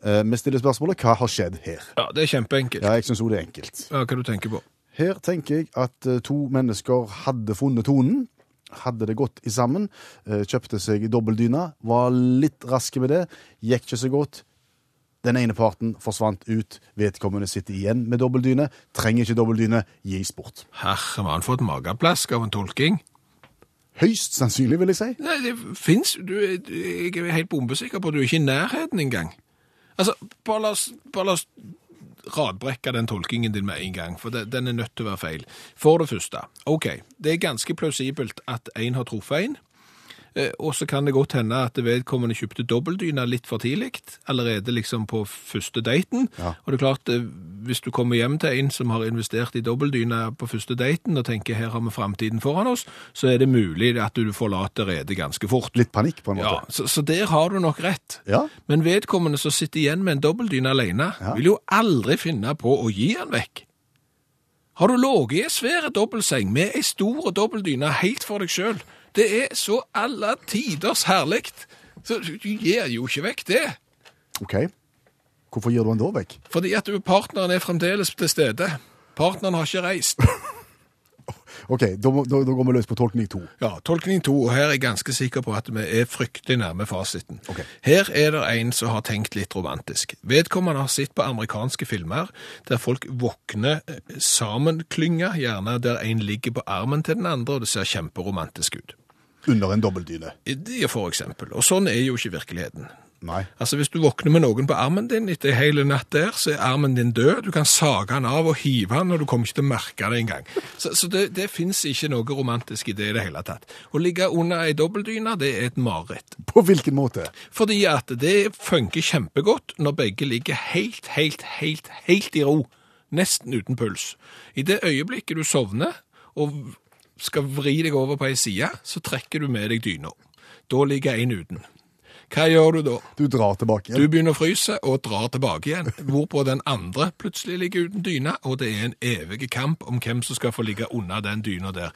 B: Eh, Vi stiller spørsmålet hva har skjedd her?
C: Ja, det er kjempeenkelt.
B: Ja, jeg syns det er enkelt.
C: Ja, hva du tenker på?
B: Her tenker jeg at eh, to mennesker hadde funnet tonen, hadde det godt i sammen, eh, kjøpte seg dobbeldyna, var litt raske med det, gikk ikke så godt. Den ene parten forsvant ut, vedkommende sitter igjen med dobbeldyne, trenger ikke dobbeldyne, gis bort.
C: Herre mann, for et mageplask av en tolking.
B: Høyst sannsynlig, vil jeg si.
C: Nei, det fins du, er- Jeg er helt bombesikker på at du er ikke i nærheten engang. Altså, bare la oss, bare la oss radbrekke den tolkingen din med en gang, for det, den er nødt til å være feil. For det første, OK, det er ganske plausibelt at én har truffet en. eh, Og så kan det godt hende at vedkommende kjøpte dobbeltdyna litt for tidlig, allerede liksom på første daten. Og det er klart, eh, hvis du kommer hjem til en som har investert i dobbeltdyna på første daten, og tenker her har vi framtiden foran oss, så er det mulig at du forlater redet ganske fort.
B: Litt panikk, på en
C: Ja,
B: måte.
C: så, så der har du nok rett.
B: Ja.
C: Men vedkommende som sitter igjen med en dobbeltdyne alene, vil jo aldri finne på å gi den vekk. Har du ligget i ei svær dobbeltseng med ei stor dobbeltdyne helt for deg sjøl? Det er så alle tiders herlig. Så du du gir jo ikke vekk det.
B: OK. Hvorfor gir du den da vekk?
C: Fordi at du- partneren er fremdeles til stede. Partneren har ikke reist.
B: OK, da, må- da, da går vi løs på tolkning to.
C: Ja, tolkning to, og her er jeg ganske sikker på at vi er fryktelig nærme fasiten.
B: Ok.
C: Her er det en som har tenkt litt romantisk. Vedkommende har sett på amerikanske filmer der folk våkner eh, sammenklynga, gjerne der en ligger på armen til den andre, og det ser kjemperomantisk ut.
B: Under en dobbeltdyne.
C: Det, for eksempel. Og sånn er jo ikke virkeligheten.
B: Nei.
C: Altså Hvis du våkner med noen på armen din etter en hel natt der, så er armen din død. Du kan sage den av og hive den, og du kommer ikke til å merke det engang. Så, så det, det fins ikke noe romantisk i det i det hele tatt. Å ligge under ei dobbeltdyne, det er et mareritt.
B: På hvilken måte?
C: Fordi at det funker kjempegodt når begge ligger helt, helt, helt, helt i ro. Nesten uten puls. I det øyeblikket du sovner og skal vri deg over på ei side, så trekker du med deg dyna. Da ligger en uten. Hva gjør du da?
B: Du drar tilbake
C: Du
B: igjen.
C: begynner å fryse og drar tilbake igjen, hvorpå den andre plutselig ligger uten dyne, og det er en evig kamp om hvem som skal få ligge unna den dyna der.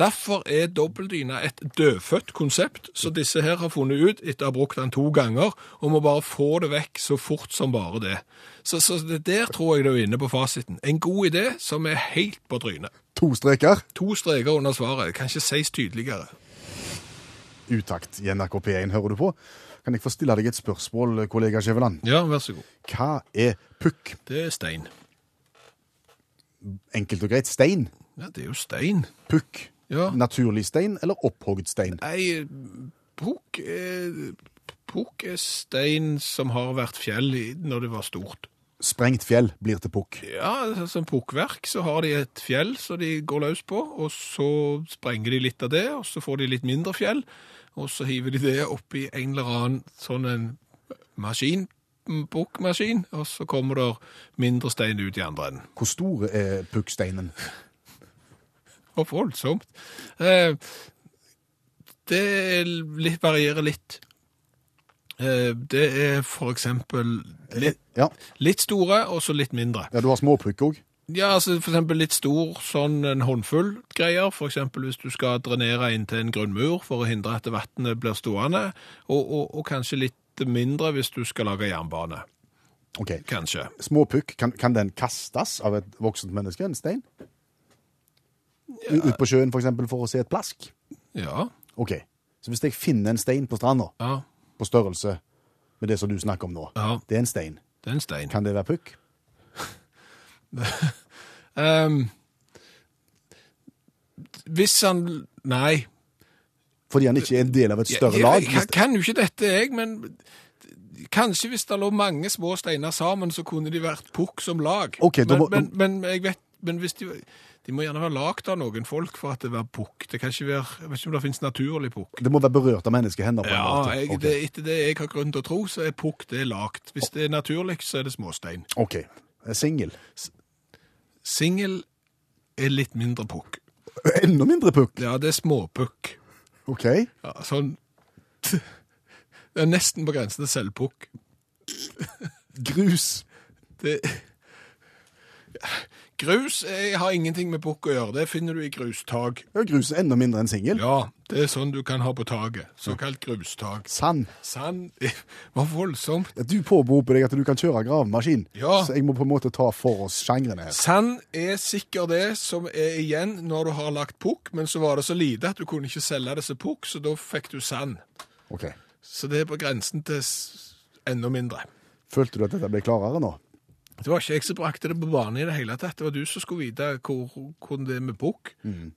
C: Derfor er dobbeltdyna et dødfødt konsept, så disse her har funnet ut, etter å ha brukt den to ganger, og må bare få det vekk så fort som bare det. Så, så det der tror jeg du er inne på fasiten. En god idé som er helt på trynet.
B: To streker.
C: To streker under svaret, kan ikke sies tydeligere.
B: Utakt i NRK P1 hører du på. Kan jeg få stille deg et spørsmål, kollega Skjæveland?
C: Ja, vær så god.
B: Hva er pukk?
C: Det er stein.
B: Enkelt og greit stein.
C: Ja, det er jo stein.
B: Pukk.
C: Ja.
B: Naturlig stein eller opphogd stein?
C: Nei, pukk er, pukk er stein som har vært fjell i- når det var stort.
B: Sprengt fjell blir til pukk.
C: Ja, altså, som pukkverk så har de et fjell som de går løs på, og så sprenger de litt av det, og så får de litt mindre fjell, og så hiver de det opp i en eller annen sånn en maskin, en pukkmaskin, og så kommer det mindre stein ut i andre enden.
B: Hvor stor er pukksteinen?
C: Og voldsomt. Eh, det er litt, varierer litt. Eh, det er for eksempel litt,
B: Ja.
C: litt store, og så litt mindre.
B: ja, du har småpukk òg.
C: Ja, altså for eksempel litt stor, sånn en håndfull greier. For eksempel hvis du skal drenere inn til en grunnmur for å hindre at vannet blir stående, og, og, og kanskje litt mindre hvis du skal lage jernbane.
B: Ok.
C: Kanskje.
B: Småpukk, kan, kan den kastes av et voksent menneske, en stein? U- Ut på sjøen, for eksempel, for å se et plask?
C: Ja.
B: Ok. Så hvis jeg finner en stein på stranda,
C: Ja,
B: på størrelse med det som du snakker om nå,
C: Ja.
B: det er en stein,
C: det er en stein.
B: kan det være pukk?
C: Ehm, hvis han Nei.
B: Fordi han ikke er en del av et større
C: Jeg-
B: lag?
C: Jeg,
B: hvis
C: jeg kan jo ikke dette, jeg, men kanskje hvis det lå mange små steiner sammen, så kunne de vært pukk som lag.
B: Ok, da
C: men,
B: må-
C: men, men jeg vet men hvis de, de må gjerne være lagd av noen folk for at det var pukk. Det kan ikke være, Jeg vet ikke om det finnes naturlig pukk.
B: Det må være berørt av menneskehender? på en
C: Ja,
B: måte.
C: jeg,
B: Ok.
C: det, Etter det jeg har grunn til å tro, så er pukk det er lagd. Hvis det er naturlig, så er det småstein.
B: OK. Singel.
C: Singel er litt mindre pukk.
B: Enda mindre pukk!
C: Ja, det er småpukk.
B: OK.
C: Ja, sånn Det er nesten på grensen til selvpukk.
B: Grus.
C: Det Grus eh, har ingenting med pukk å gjøre. Det finner du i grustag.
B: Ja, grus er enda mindre enn singel.
C: Ja, det er sånn du kan ha på taket. Såkalt grustag.
B: Sand.
C: Sand eh, var voldsomt.
B: Ja, Du påberoper deg at du kan kjøre gravemaskin,
C: Ja.
B: så jeg må på en måte ta for oss sjangrene her.
C: Sand er sikkert det som er igjen når du har lagt pukk, men så var det så lite at du kunne ikke selge det som pukk, så da fikk du sand.
B: Ok.
C: Så det er på grensen til s- enda mindre.
B: Følte du at dette ble klarere nå?
C: Det var ikke jeg som brakte det på banen i det hele tatt. Det var du som skulle vite hvor, hvordan det er med pukk.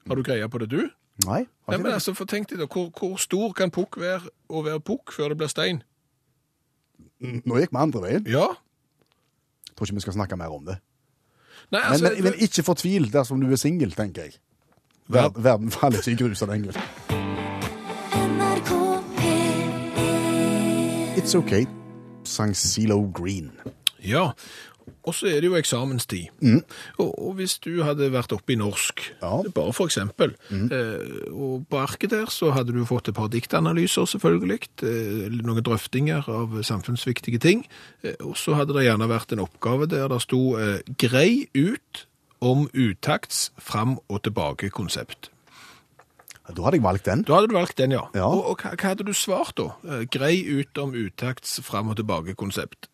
C: Har du greie på det, du?
B: Nei. har
C: Nei,
B: ikke
C: men
B: det.
C: altså, for tenk deg da, hvor, hvor stor kan pukk være å være pukk før det blir stein?
B: Nå gikk vi andre veien.
C: Ja.
B: Tror ikke vi skal snakke mer om det.
C: Nei,
B: Men,
C: altså,
B: men, men ikke fortvil dersom du er singel, tenker jeg. Ver, verden faller ikke i grus av den grunn.
E: NRK P1
B: It's OK, sang Zelo Green.
C: Ja. Og så er det jo eksamenstid. Og, og hvis du hadde vært oppe i norsk,
B: Mm. Ja. Mm.
C: bare for eksempel, eh, og på arket der så hadde du fått et par diktanalyser selvfølgelig, eh, noen drøftinger av samfunnsviktige ting, eh, og så hadde det gjerne vært en oppgave der det sto eh, «Grei ut om utakts fram- og tilbake-konsept».
B: Da hadde jeg valgt den.
C: Da hadde du valgt den, ja.
B: Ja.
C: Og, og hva, hva hadde du svart da? Eh, Grei ut om utakts fram og tilbake-konsept.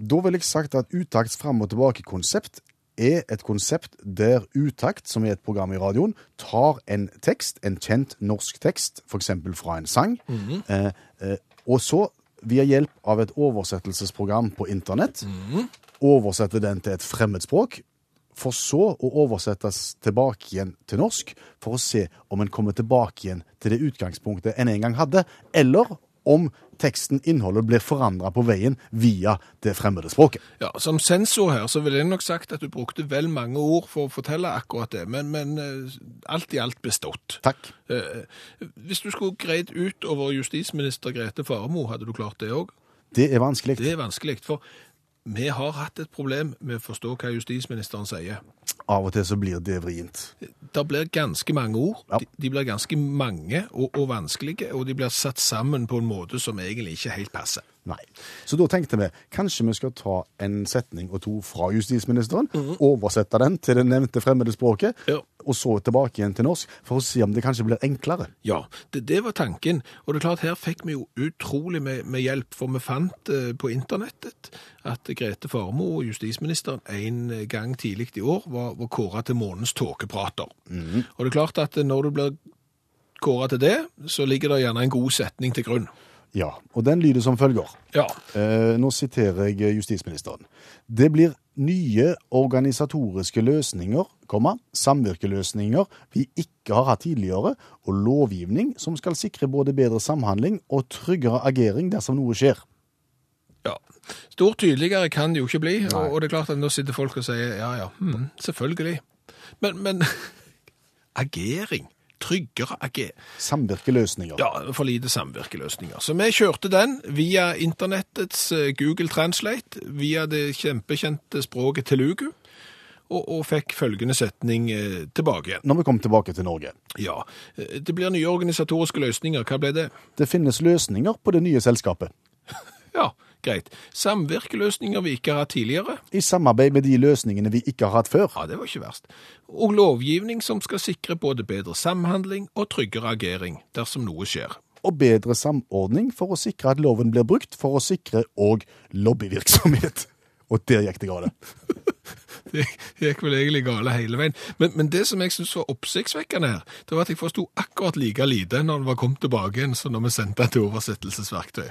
B: Da ville jeg sagt at utakts fram og tilbake-konsept er et konsept der Utakt, som er et program i radioen, tar en tekst, en kjent norsk tekst, f.eks. fra en sang, eh, eh, og så via hjelp av et oversettelsesprogram på internett oversetter den til et fremmedspråk, for så å oversettes tilbake igjen til norsk, for å se om en kommer tilbake igjen til det utgangspunktet en en gang hadde, eller om teksten, innholdet, blir forandra på veien via det fremmede språket.
C: Ja, Som sensor her, så ville jeg nok sagt at du brukte vel mange ord for å fortelle akkurat det, men, men eh, alt i alt bestått.
B: Takk.
C: Eh, Hvis du skulle greid ut over justisminister Grete Faremo, hadde du klart det òg?
B: Det er vanskelig.
C: Det er vanskelig, for vi har hatt et problem med å forstå hva justisministeren sier.
B: Av og til så blir det vrient.
C: Det blir ganske mange ord.
B: Ja.
C: De, de blir ganske mange og, og vanskelige, og de blir satt sammen på en måte som egentlig ikke helt passer.
B: Nei. Så da tenkte vi kanskje vi skal ta en setning og to fra justisministeren, oversette den til det nevnte fremmede språket,
C: Ja.
B: og så tilbake igjen til norsk for å se om det kanskje blir enklere.
C: Ja, det, det var tanken. Og det er klart, her fikk vi jo utrolig med, med hjelp, for vi fant eh, på internettet at Grete Farmo og justisministeren en gang tidlig i år var, var kåret til månens tåkeprater. Og det er klart at eh, når du blir kåret til det, så ligger det gjerne en god setning til grunn.
B: Ja, og den lyder som følger.
C: Ja,
B: Eh, nå siterer jeg justisministeren. Det blir nye organisatoriske løsninger, komma, samvirkeløsninger vi ikke har hatt tidligere, og lovgivning som skal sikre både bedre samhandling og tryggere agering dersom noe skjer.
C: ja. Stort tydeligere kan det jo ikke bli, og, og det er klart at nå sitter folk og sier, ja, ja, mm, selvfølgelig. Men, men, agering, tryggere agering.
B: Samvirkeløsninger.
C: Ja, for lite samvirkeløsninger. Så vi kjørte den via internettets eh, Google Translate, via det kjempekjente språket telugu, og, og fikk følgende setning eh, tilbake igjen.
B: Når vi kom tilbake til Norge.
C: Ja, eh, det blir nye organisatoriske løsninger. Hva ble det?
B: Det finnes løsninger på det nye selskapet.
C: Ja, greit. Samvirkeløsninger vi ikke har hatt tidligere.
B: I samarbeid med de løsningene vi ikke har hatt før.
C: Ja, det var ikke verst. Og lovgivning som skal sikre både bedre samhandling og tryggere agering dersom noe skjer.
B: Og bedre samordning for å sikre at loven blir brukt, for å sikre òg lobbyvirksomhet. Og der gikk det galt.
C: Det gikk vel egentlig gale hele veien. Men, men det som jeg syntes var oppsiktsvekkende her, det var at jeg forsto akkurat like lite når den var kommet tilbake igjen som når vi sendte den til oversettelsesverktøy.